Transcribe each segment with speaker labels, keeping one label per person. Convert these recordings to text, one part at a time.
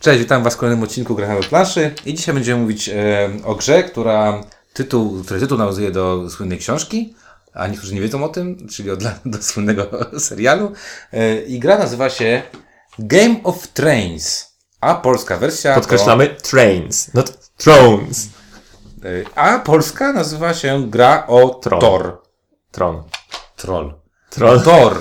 Speaker 1: Cześć, witam Was w kolejnym odcinku Gramy Planszy i dzisiaj będziemy mówić e, o grze, która tytuł, który tytuł nawiązuje do słynnej książki, a niektórzy nie wiedzą o tym, czyli od, do słynnego serialu. E, I gra nazywa się Game of Trains, a polska wersja
Speaker 2: Podkreślamy trains, not thrones.
Speaker 1: To, e, a polska nazywa się gra o
Speaker 2: Tron.
Speaker 1: Tor.
Speaker 2: Tron.
Speaker 1: Troll.
Speaker 2: Tron.
Speaker 1: Tor.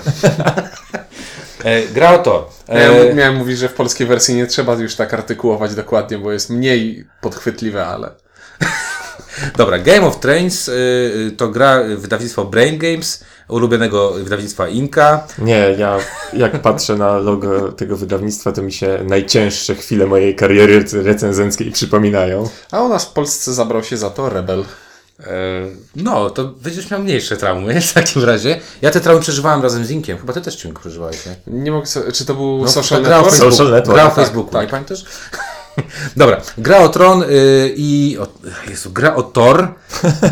Speaker 1: e, gra o Tor.
Speaker 3: No Ja
Speaker 1: E,
Speaker 3: miałem mówić, że w polskiej wersji nie trzeba już tak artykułować dokładnie, bo jest mniej podchwytliwe, ale.
Speaker 1: Dobra, Game of Trains y, y, to gra wydawnictwo Brain Games, ulubionego wydawnictwa Inka.
Speaker 2: Nie, ja jak patrzę na logo tego wydawnictwa, to mi się najcięższe chwile mojej kariery rec- recenzenckiej przypominają.
Speaker 3: A u nas w Polsce zabrał się za to rebel.
Speaker 1: E, No, to będziesz miał mniejsze traumy w takim razie. Ja te traumy przeżywałem razem z Inkiem, chyba ty też ciągle przeżywałeś, nie?
Speaker 3: Nie mogę. so- Czy to był
Speaker 1: No,
Speaker 3: social
Speaker 1: gra o
Speaker 3: network?
Speaker 1: Facebooku,
Speaker 2: Social network,
Speaker 1: Gra o
Speaker 3: tak,
Speaker 1: Facebooku,
Speaker 3: tak.
Speaker 1: nie pamiętasz? Dobra, gra o Tron y, i... O, Jezu, gra o Tor.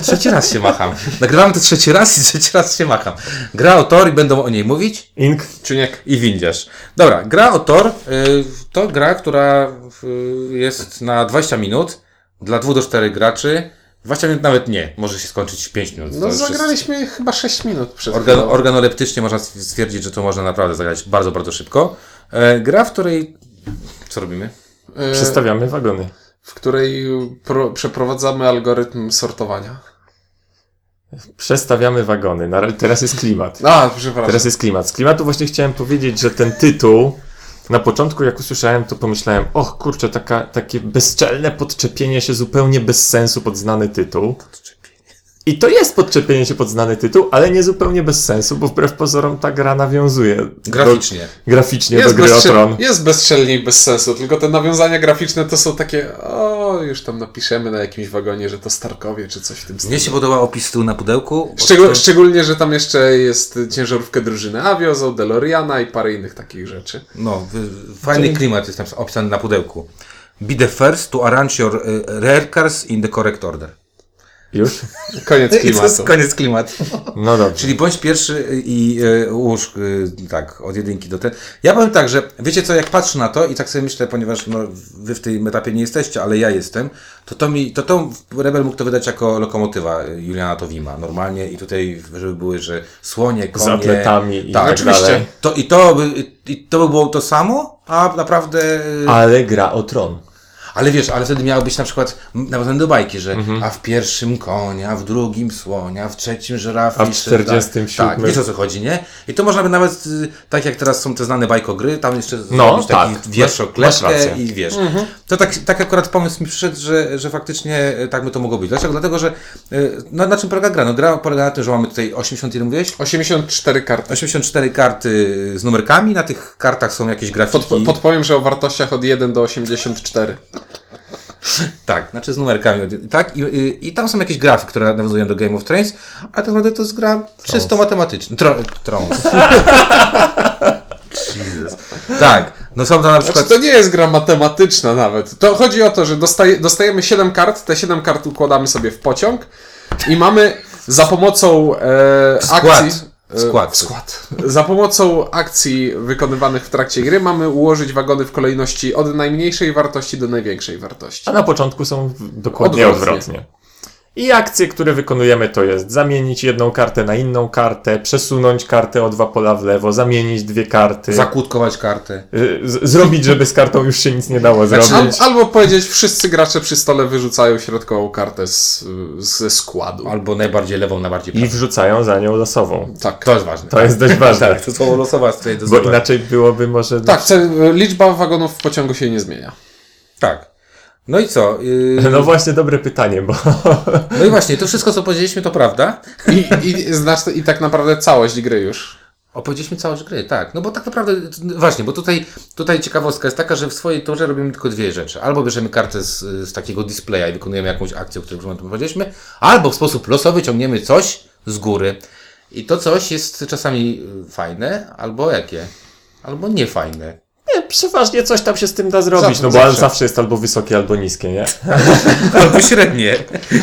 Speaker 1: Trzeci raz się macham. Nagrywamy to trzeci raz i trzeci raz się macham. Gra o Tor i będą o niej mówić.
Speaker 2: Ink.
Speaker 3: Czuniek.
Speaker 1: i windziarz. Dobra, gra o Tor y, to gra, która y, jest na 20 minut dla 2 do 4 graczy. 20 minut nawet nie, może się skończyć w 5 minut. To
Speaker 3: No
Speaker 1: już jest-
Speaker 3: zagraliśmy chyba 6 minut przed
Speaker 1: Organ,
Speaker 3: chwilą.
Speaker 1: organoleptycznie można stwierdzić, że to można naprawdę zagrać bardzo, bardzo szybko. E, gra, w której. Co robimy?
Speaker 3: E,
Speaker 2: Przestawiamy wagony.
Speaker 3: w której pro, przeprowadzamy algorytm sortowania.
Speaker 2: Przestawiamy wagony. Na, teraz jest klimat.
Speaker 3: A, przepraszam.
Speaker 2: Teraz jest klimat. Z klimatu właśnie chciałem powiedzieć, że ten tytuł na początku jak usłyszałem, to pomyślałem, och kurczę, taka, takie bezczelne podczepienie się zupełnie bez sensu pod znany tytuł. I to jest podczepienie się pod znany tytuł, ale nie zupełnie bez sensu, bo wbrew pozorom ta gra nawiązuje
Speaker 1: Graficznie.
Speaker 2: do, graficznie
Speaker 3: Jest,
Speaker 2: do gry o
Speaker 3: bezstrzel-
Speaker 2: tron.
Speaker 3: jest bezstrzelnie i bez sensu, tylko te nawiązania graficzne to są takie, o, już tam napiszemy na jakimś wagonie, że to Starkowie czy coś w tym
Speaker 1: Mnie się podoba opis tyłu na pudełku.
Speaker 3: Szczegól, szczególnie, że tam jeszcze jest ciężarówkę drużyny Aviozo, DeLoreana i parę innych takich rzeczy.
Speaker 1: No, w- w- fajny klimat jest tam opisany na pudełku. Be the first to arrange your y, rare cars in the correct order.
Speaker 2: Już?
Speaker 3: Koniec
Speaker 1: I to jest
Speaker 3: klimatu.
Speaker 1: koniec klimatu.
Speaker 2: No dobrze.
Speaker 1: Tak, Czyli bądź pierwszy i e, ułóż e, tak, od jedynki do te. Ja powiem tak, że wiecie co, jak patrzę na to i tak sobie myślę, ponieważ no, wy w tym etapie nie jesteście, ale ja jestem, to to mi, to, to Rebel mógł to wydać jako lokomotywa e, Juliana Towima normalnie i tutaj, żeby były, że słonie, konie.
Speaker 2: Z atletami i
Speaker 1: tak,
Speaker 2: tak
Speaker 3: oczywiście.
Speaker 2: dalej.
Speaker 1: To, i, to by, I to by było to samo, a naprawdę... e,
Speaker 2: Ale gra o tron.
Speaker 1: Ale wiesz, ale wtedy miało być na przykład m, nawiązane do bajki, że
Speaker 2: Mhm.
Speaker 1: a w pierwszym konia, w drugim słonia, w trzecim żyrafie.
Speaker 2: A w
Speaker 1: i tak dalej.
Speaker 2: 47.
Speaker 1: Tak, wiesz o co chodzi, nie? I to można by nawet, y, tak jak teraz są te znane bajkogry, tam jeszcze
Speaker 2: No,
Speaker 1: zrobić taki
Speaker 2: tak.
Speaker 1: wiersz o
Speaker 2: Masz- masz
Speaker 1: klepkę
Speaker 2: rację.
Speaker 1: i wiesz. To tak, tak akurat pomysł mi przyszedł, że, że faktycznie y, tak by to mogło być. Dlaczego? Dlatego, że y, no, na czym polega gra? No gra polega na tym, że mamy tutaj 81, mówiłeś?
Speaker 3: 84 karty.
Speaker 1: 84 karty e, z numerkami, na tych kartach są jakieś grafiki.
Speaker 3: Pod, podpowiem, że o wartościach od 1 do 84.
Speaker 1: Tak, znaczy z numerkami. Tak, i, i, i tam są jakieś grafy, które nawiązują do Game of Thrones, ale tak naprawdę to jest gra czysto matematyczna. Tro, Trons. Jesus. Tak, no są tam na przykład...
Speaker 3: Znaczy, to nie jest gra matematyczna nawet. To chodzi o to, że dostaje, dostajemy 7 kart, te 7 kart układamy sobie w pociąg i mamy za pomocą e,
Speaker 1: Skład.
Speaker 3: akcji... e,
Speaker 1: Skład.
Speaker 3: skład. Za pomocą akcji wykonywanych w trakcie gry mamy ułożyć wagony w kolejności od najmniejszej wartości do największej wartości.
Speaker 2: A na początku są w- dokładnie
Speaker 3: Odwrotnie.
Speaker 2: odwrotnie. I akcje, które wykonujemy, to jest zamienić jedną kartę na inną kartę, przesunąć kartę o dwa pola w lewo, zamienić dwie karty,
Speaker 1: Zakłódkować kartę.
Speaker 2: y, z- zrobić, żeby z kartą już Tak się nic nie dało
Speaker 3: Al,
Speaker 2: zrobić.
Speaker 3: albo powiedzieć, wszyscy gracze przy stole wyrzucają środkową kartę z, ze składu.
Speaker 1: Albo najbardziej lewą, najbardziej
Speaker 2: I
Speaker 1: prawą.
Speaker 2: wrzucają za nią losową.
Speaker 3: Tak.
Speaker 1: To jest ważne.
Speaker 2: To jest dość ważne,
Speaker 1: Tak, to słowo losowa jest tutaj
Speaker 2: bo
Speaker 1: dosyć.
Speaker 2: inaczej byłoby może...
Speaker 3: Tak, ce- liczba wagonów w pociągu się nie zmienia.
Speaker 1: Tak. No i co? Yy,
Speaker 2: No właśnie, dobre pytanie, bo
Speaker 1: no i właśnie, to wszystko, co powiedzieliśmy, to prawda.
Speaker 3: I, i, znaczy, I tak naprawdę całość gry już.
Speaker 1: Opowiedzieliśmy całość gry, tak. No bo tak naprawdę, no właśnie, bo tutaj, tutaj ciekawostka jest taka, że w swojej turze robimy tylko dwie rzeczy. Albo bierzemy kartę z, z takiego displaya i wykonujemy jakąś akcję, o której przed momentem powiedzieliśmy, albo w sposób losowy ciągniemy coś z góry. I to coś jest czasami y, fajne, albo jakie, albo niefajne.
Speaker 2: nie, przeważnie coś tam się z tym da zrobić,
Speaker 3: Zawsze,
Speaker 2: no bo
Speaker 3: zawsze.
Speaker 2: zawsze jest albo wysokie, albo niskie, nie?
Speaker 1: Albo średnie.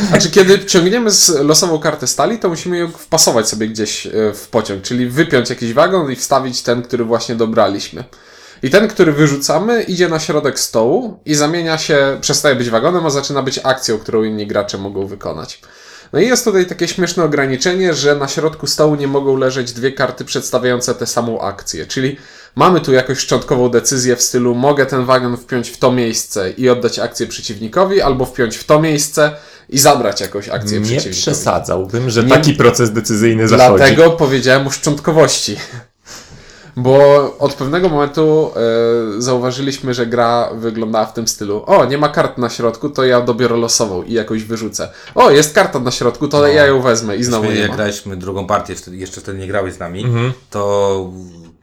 Speaker 3: Znaczy, kiedy ciągniemy z losową kartę stali, to musimy ją wpasować sobie gdzieś e, w pociąg, czyli wypiąć jakiś wagon i wstawić ten, który właśnie dobraliśmy. I ten, który wyrzucamy, idzie na środek stołu i zamienia się, przestaje być wagonem, a zaczyna być akcją, którą inni gracze mogą wykonać. No i jest tutaj takie śmieszne ograniczenie, że na środku stołu nie mogą leżeć dwie karty przedstawiające tę samą akcję. Czyli mamy tu jakąś szczątkową decyzję w stylu mogę ten wagon wpiąć w to miejsce i oddać akcję przeciwnikowi, albo wpiąć w to miejsce i zabrać jakąś akcję
Speaker 2: Nie
Speaker 3: przeciwnikowi.
Speaker 2: przesadzałbym, że
Speaker 3: Nie-
Speaker 2: taki proces decyzyjny zachodzi.
Speaker 3: Dlatego powiedziałem o szczątkowości. Bo od pewnego momentu e, zauważyliśmy, że gra wyglądała w tym stylu. O, nie ma kart na środku, to ja dobiorę losową i jakoś wyrzucę. O, jest karta na środku,
Speaker 1: No.
Speaker 3: to ja ją wezmę i
Speaker 1: My,
Speaker 3: znowu nie
Speaker 1: jak
Speaker 3: ma. Mhm.
Speaker 1: graliśmy drugą partię, wtedy- jeszcze wtedy nie grałeś z nami, to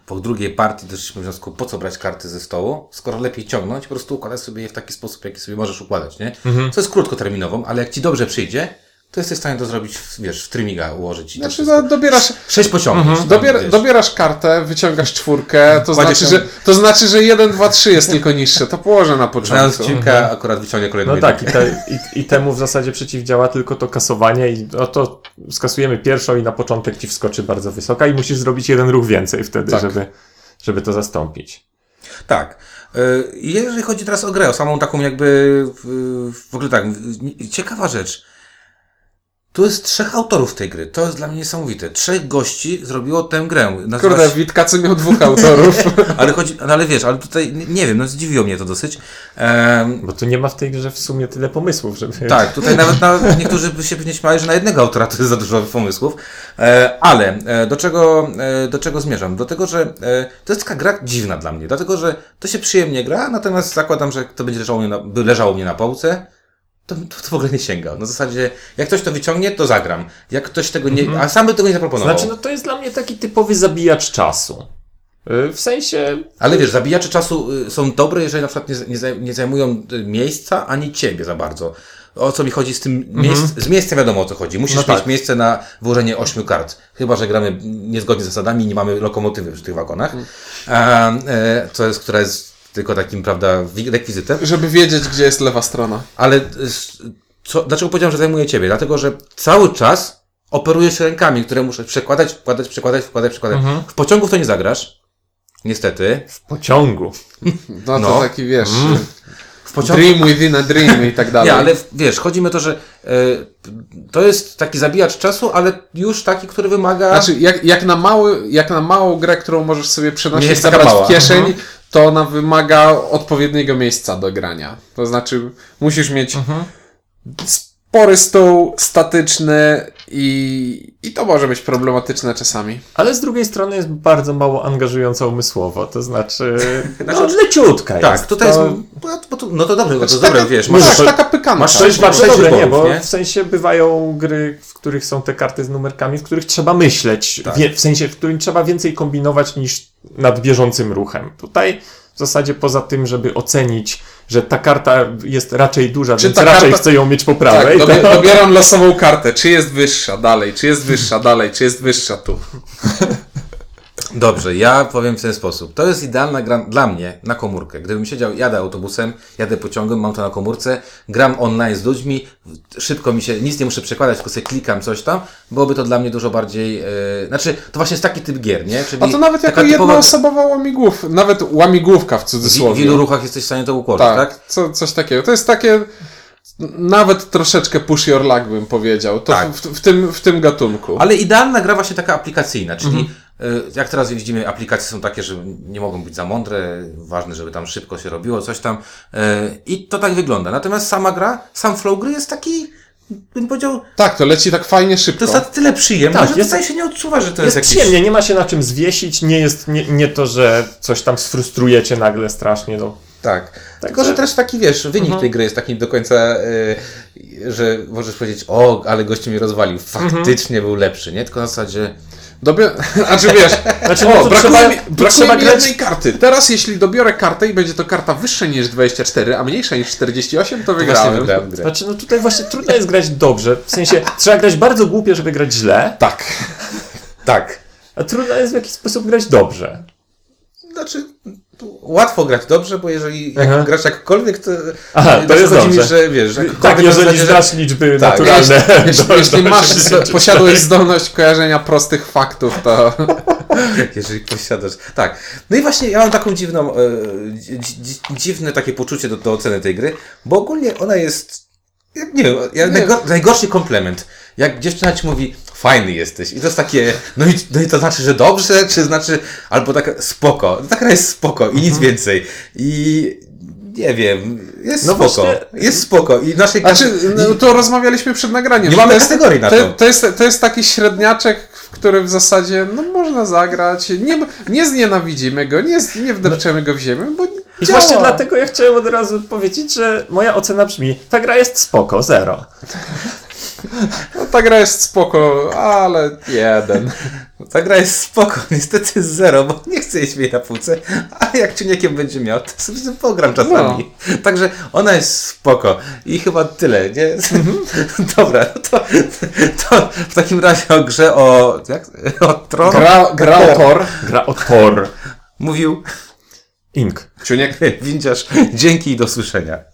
Speaker 1: po drugiej partii doszliśmy do wniosku, po co brać karty ze stołu, skoro lepiej ciągnąć, po prostu układać sobie je w taki sposób, jaki sobie możesz układać, nie?
Speaker 3: Mhm.
Speaker 1: Co jest krótkoterminową, ale jak ci dobrze przyjdzie, to jesteś w stanie to zrobić, w- wiesz, w trymiga ułożyć. i to
Speaker 3: Znaczy,
Speaker 1: wszystko.
Speaker 3: no, dobierasz,
Speaker 1: Sześć pociągów. Mhm.
Speaker 3: dobier, dobierasz kartę, wyciągasz czwórkę, to
Speaker 1: Kładziesz
Speaker 3: znaczy,
Speaker 1: ją-
Speaker 3: że, to znaczy, że 1, 2, 3 jest tylko niższe. To położę na
Speaker 1: Znając
Speaker 3: początku.
Speaker 1: odcinka,
Speaker 3: Mhm.
Speaker 1: akurat wyciągnie kolejną
Speaker 2: No tak, i,
Speaker 1: jedynkę.
Speaker 2: te, i, i temu w zasadzie przeciwdziała tylko to kasowanie i no to skasujemy pierwszą i na początek ci wskoczy bardzo wysoka i musisz zrobić jeden ruch więcej wtedy,
Speaker 3: Tak.
Speaker 2: żeby, żeby to zastąpić.
Speaker 1: Tak. Y, Jeżeli chodzi teraz o grę, o samą taką jakby y, w ogóle tak, y, ciekawa rzecz. Tu jest trzech autorów tej gry. To jest dla mnie niesamowite. Trzech gości zrobiło tę grę. Nazywa
Speaker 3: Kurde,
Speaker 1: się-
Speaker 3: Witkacy miał dwóch autorów.
Speaker 1: ale chodzi, no ale wiesz, ale tutaj n- nie wiem, no zdziwiło mnie to dosyć. Em,
Speaker 2: Bo tu nie ma w tej grze w sumie tyle pomysłów, żeby...
Speaker 1: tak, tutaj nawet na, niektórzy by się pewnie śmiali, że na jednego autora to jest za dużo pomysłów. E, ale e, do, czego, e, do czego zmierzam? Do tego, że e, to jest taka gra dziwna dla mnie, dlatego że to się przyjemnie gra, natomiast zakładam, że jak to będzie leżało mnie na, by leżało mnie na półce, to, to, to w ogóle nie sięga. Na zasadzie, jak ktoś to wyciągnie, to zagram. Jak ktoś tego nie. A sam by tego nie zaproponował.
Speaker 2: Mhm. Znaczy, no to jest dla mnie taki typowy zabijacz czasu. Y, W sensie,
Speaker 1: Ale wiesz, zabijacze czasu y, są dobre, jeżeli na przykład nie, nie, zaj- nie zajmują y, miejsca ani ciebie za bardzo. O co mi chodzi z tym miejsc, z miejscem wiadomo o co chodzi. Musisz
Speaker 2: Mhm. No
Speaker 1: mieć
Speaker 2: tak.
Speaker 1: miejsce na wyłożenie ośmiu kart. Chyba, że gramy niezgodnie z zasadami i nie mamy lokomotywy przy tych wagonach.
Speaker 2: Mm.
Speaker 1: A, e, co jest, która jest tylko takim, prawda, wi- rekwizytem.
Speaker 3: Żeby wiedzieć, gdzie jest lewa strona.
Speaker 1: Ale y, s- co, dlaczego powiedziałem, że zajmuje ciebie? Dlatego, że cały czas operujesz rękami, które muszę przekładać, wkładać, przekładać, wkładać, przekładać.
Speaker 2: Mhm.
Speaker 1: W pociągu w to nie zagrasz. Niestety.
Speaker 2: w pociągu.
Speaker 3: No to
Speaker 1: No.
Speaker 3: taki, wiesz,
Speaker 1: W pociągu
Speaker 3: dream within a dream i tak dalej.
Speaker 1: Nie, ale w- wiesz, chodzi mi o to, że e, to jest taki zabijacz czasu, ale już taki, który wymaga.
Speaker 3: Znaczy, jak, jak, na mały, jak na małą grę, którą możesz sobie
Speaker 1: Nie
Speaker 3: przenosić,
Speaker 1: jest taka
Speaker 3: zabrać
Speaker 1: mała. Mhm.
Speaker 3: w kieszeń, to ona wymaga odpowiedniego miejsca do grania. To znaczy, musisz mieć
Speaker 1: Mhm.
Speaker 3: spory stół, statyczny i, i to może być problematyczne czasami.
Speaker 2: Ale z drugiej strony jest bardzo mało angażująca umysłowo, to znaczy, no leciutka
Speaker 1: tak,
Speaker 2: jest.
Speaker 1: tutaj
Speaker 2: to...
Speaker 1: jest. Bo, bo tu, no to dobrze, to
Speaker 3: Znaczy,
Speaker 1: dobre,
Speaker 3: taka,
Speaker 1: wiesz.
Speaker 3: masz,
Speaker 1: Masz,
Speaker 3: tak,
Speaker 2: to-
Speaker 3: taka pykanka.
Speaker 1: masz
Speaker 2: Sześć,
Speaker 1: sześć
Speaker 2: bardzo
Speaker 1: sześć
Speaker 2: dobre, nie,
Speaker 1: wyborów,
Speaker 2: bo
Speaker 1: nie?
Speaker 2: w sensie bywają gry, w których są te karty z numerkami, w których trzeba myśleć,
Speaker 3: Tak.
Speaker 2: wie, w sensie, w którym trzeba więcej kombinować niż nad bieżącym ruchem. Tutaj w zasadzie poza tym, żeby ocenić, że ta karta jest raczej duża,
Speaker 3: Czy
Speaker 2: więc
Speaker 3: ta
Speaker 2: raczej
Speaker 3: karta-
Speaker 2: chcę ją mieć po
Speaker 3: Tak,
Speaker 2: prawej,
Speaker 3: dobie,
Speaker 2: to...
Speaker 3: dobieram losową kartę. Czy jest wyższa dalej, czy jest wyższa dalej, czy jest wyższa tu.
Speaker 1: Dobrze, ja powiem w ten sposób. To jest idealna gra dla mnie na komórkę. Gdybym siedział, jadę autobusem, jadę pociągiem, mam to na komórce, gram online z ludźmi, szybko mi się, nic nie muszę przekładać, tylko sobie klikam coś tam, byłoby to dla mnie dużo bardziej, e, znaczy, to właśnie jest taki typ gier, nie? Czyli
Speaker 3: A to nawet
Speaker 1: taka
Speaker 3: jako
Speaker 1: typowa-
Speaker 3: jednoosobowa łamigłów, nawet łamigłówka w
Speaker 1: W,
Speaker 3: cudzysłowie.
Speaker 1: w wielu ruchach jesteś w stanie to ułożyć, tak?
Speaker 3: Co, coś takiego. To jest takie nawet troszeczkę push your luck bym powiedział. To
Speaker 1: Tak.
Speaker 3: w, w, tym, w tym gatunku.
Speaker 1: Ale idealna gra właśnie taka aplikacyjna, czyli y, jak teraz widzimy, aplikacje są takie, że nie mogą być za mądre, ważne, żeby tam szybko się robiło, coś tam. y, I to tak wygląda. Natomiast sama gra, sam flow gry jest taki, bym powiedział,
Speaker 3: Tak, to leci tak fajnie szybko.
Speaker 1: to jest na tyle przyjemne,
Speaker 2: Tak,
Speaker 1: że
Speaker 2: jest-
Speaker 1: tutaj się nie odczuwa, że to
Speaker 2: Jest,
Speaker 1: jest, jakieś...
Speaker 2: przyjemnie, nie ma się na czym zwiesić, nie jest, nie, nie to, że coś tam sfrustrujecie nagle strasznie, no.
Speaker 1: Tak. Tylko, że też taki, wiesz, wynik tej gry jest taki do końca, y, że możesz powiedzieć, o, ale gościu mi rozwalił. Faktycznie był lepszy, nie? Tylko na zasadzie... no
Speaker 3: Dobie... Znaczy wiesz,
Speaker 2: Znaczy, no
Speaker 3: o,
Speaker 2: to
Speaker 3: brakuje,
Speaker 2: trzeba-
Speaker 3: mi,
Speaker 2: to
Speaker 3: brakuje
Speaker 2: trzeba
Speaker 3: mi
Speaker 2: grać-
Speaker 3: jednej karty. Teraz jeśli dobiorę kartę i będzie to karta wyższa niż 24, a mniejsza niż 48, to
Speaker 1: Właśnie
Speaker 3: wygrałem.
Speaker 1: wygrałem grę.
Speaker 2: Znaczy, no tutaj właśnie trudno jest grać dobrze, w sensie trzeba grać bardzo głupie, żeby grać źle,
Speaker 3: Tak.
Speaker 1: Tak.
Speaker 2: a trudno jest w jakiś sposób grać dobrze.
Speaker 1: Znaczy, tu łatwo grać dobrze, bo jeżeli jak
Speaker 2: Aha.
Speaker 1: grasz jakkolwiek, to,
Speaker 2: Aha,
Speaker 1: to
Speaker 2: to jest
Speaker 1: chodzi mi,
Speaker 2: dobrze.
Speaker 1: że wiesz, że
Speaker 2: Tak,
Speaker 1: jakkolwiek na
Speaker 2: jeżeli
Speaker 1: zasadzie, że-
Speaker 2: znasz liczby
Speaker 1: Tak,
Speaker 2: naturalne.
Speaker 3: Jeśli,
Speaker 2: do-
Speaker 3: jeśli
Speaker 2: do
Speaker 3: masz,
Speaker 2: 84.
Speaker 3: posiadłeś zdolność kojarzenia prostych faktów, to
Speaker 1: Jeżeli posiadasz. Tak. No i właśnie ja mam taką dziwną, e, dzi- dzi- dziwne takie poczucie do, do oceny tej gry, bo ogólnie ona jest. jak Nie wiem, ja,
Speaker 3: Nie.
Speaker 1: najgor- najgorszy komplement. Jak dziewczyna ci mówi, fajny jesteś. I to jest takie, no i, no i to znaczy, że dobrze, czy znaczy, albo tak spoko. Ta gra jest spoko i nic więcej. I nie wiem, jest
Speaker 2: No
Speaker 1: spoko.
Speaker 2: właśnie-
Speaker 1: Jest spoko. I naszej
Speaker 3: Znaczy, no, to rozmawialiśmy przed nagraniem.
Speaker 1: Nie
Speaker 3: że
Speaker 1: mamy
Speaker 3: to jest-
Speaker 1: kategorii na
Speaker 3: to.
Speaker 1: to.
Speaker 3: To jest, to jest taki średniaczek, w który w zasadzie no, można zagrać. Nie, nie znienawidzimy go, nie, z- nie wdepczemy go w ziemię, bo
Speaker 2: I
Speaker 3: działa.
Speaker 2: właśnie dlatego ja chciałem od razu powiedzieć, że moja ocena brzmi, ta gra jest spoko, zero.
Speaker 3: No, ta gra jest spoko, ale jeden.
Speaker 1: Ta gra jest spoko, niestety jest zero, bo nie chcę jeść jej na półce, ale jak ciuniakiem będzie miał, to sobie z tym pogram czasami.
Speaker 3: No.
Speaker 1: Także ona jest spoko i chyba tyle, nie?
Speaker 3: Mhm.
Speaker 1: Dobra, no to, to w takim razie o grze o, jak, o tron
Speaker 3: Gra, gra autor.
Speaker 2: Gra o Thor.
Speaker 1: mówił
Speaker 2: Ink.
Speaker 3: Ciuniek.
Speaker 1: Windziarz. Dzięki i do słyszenia.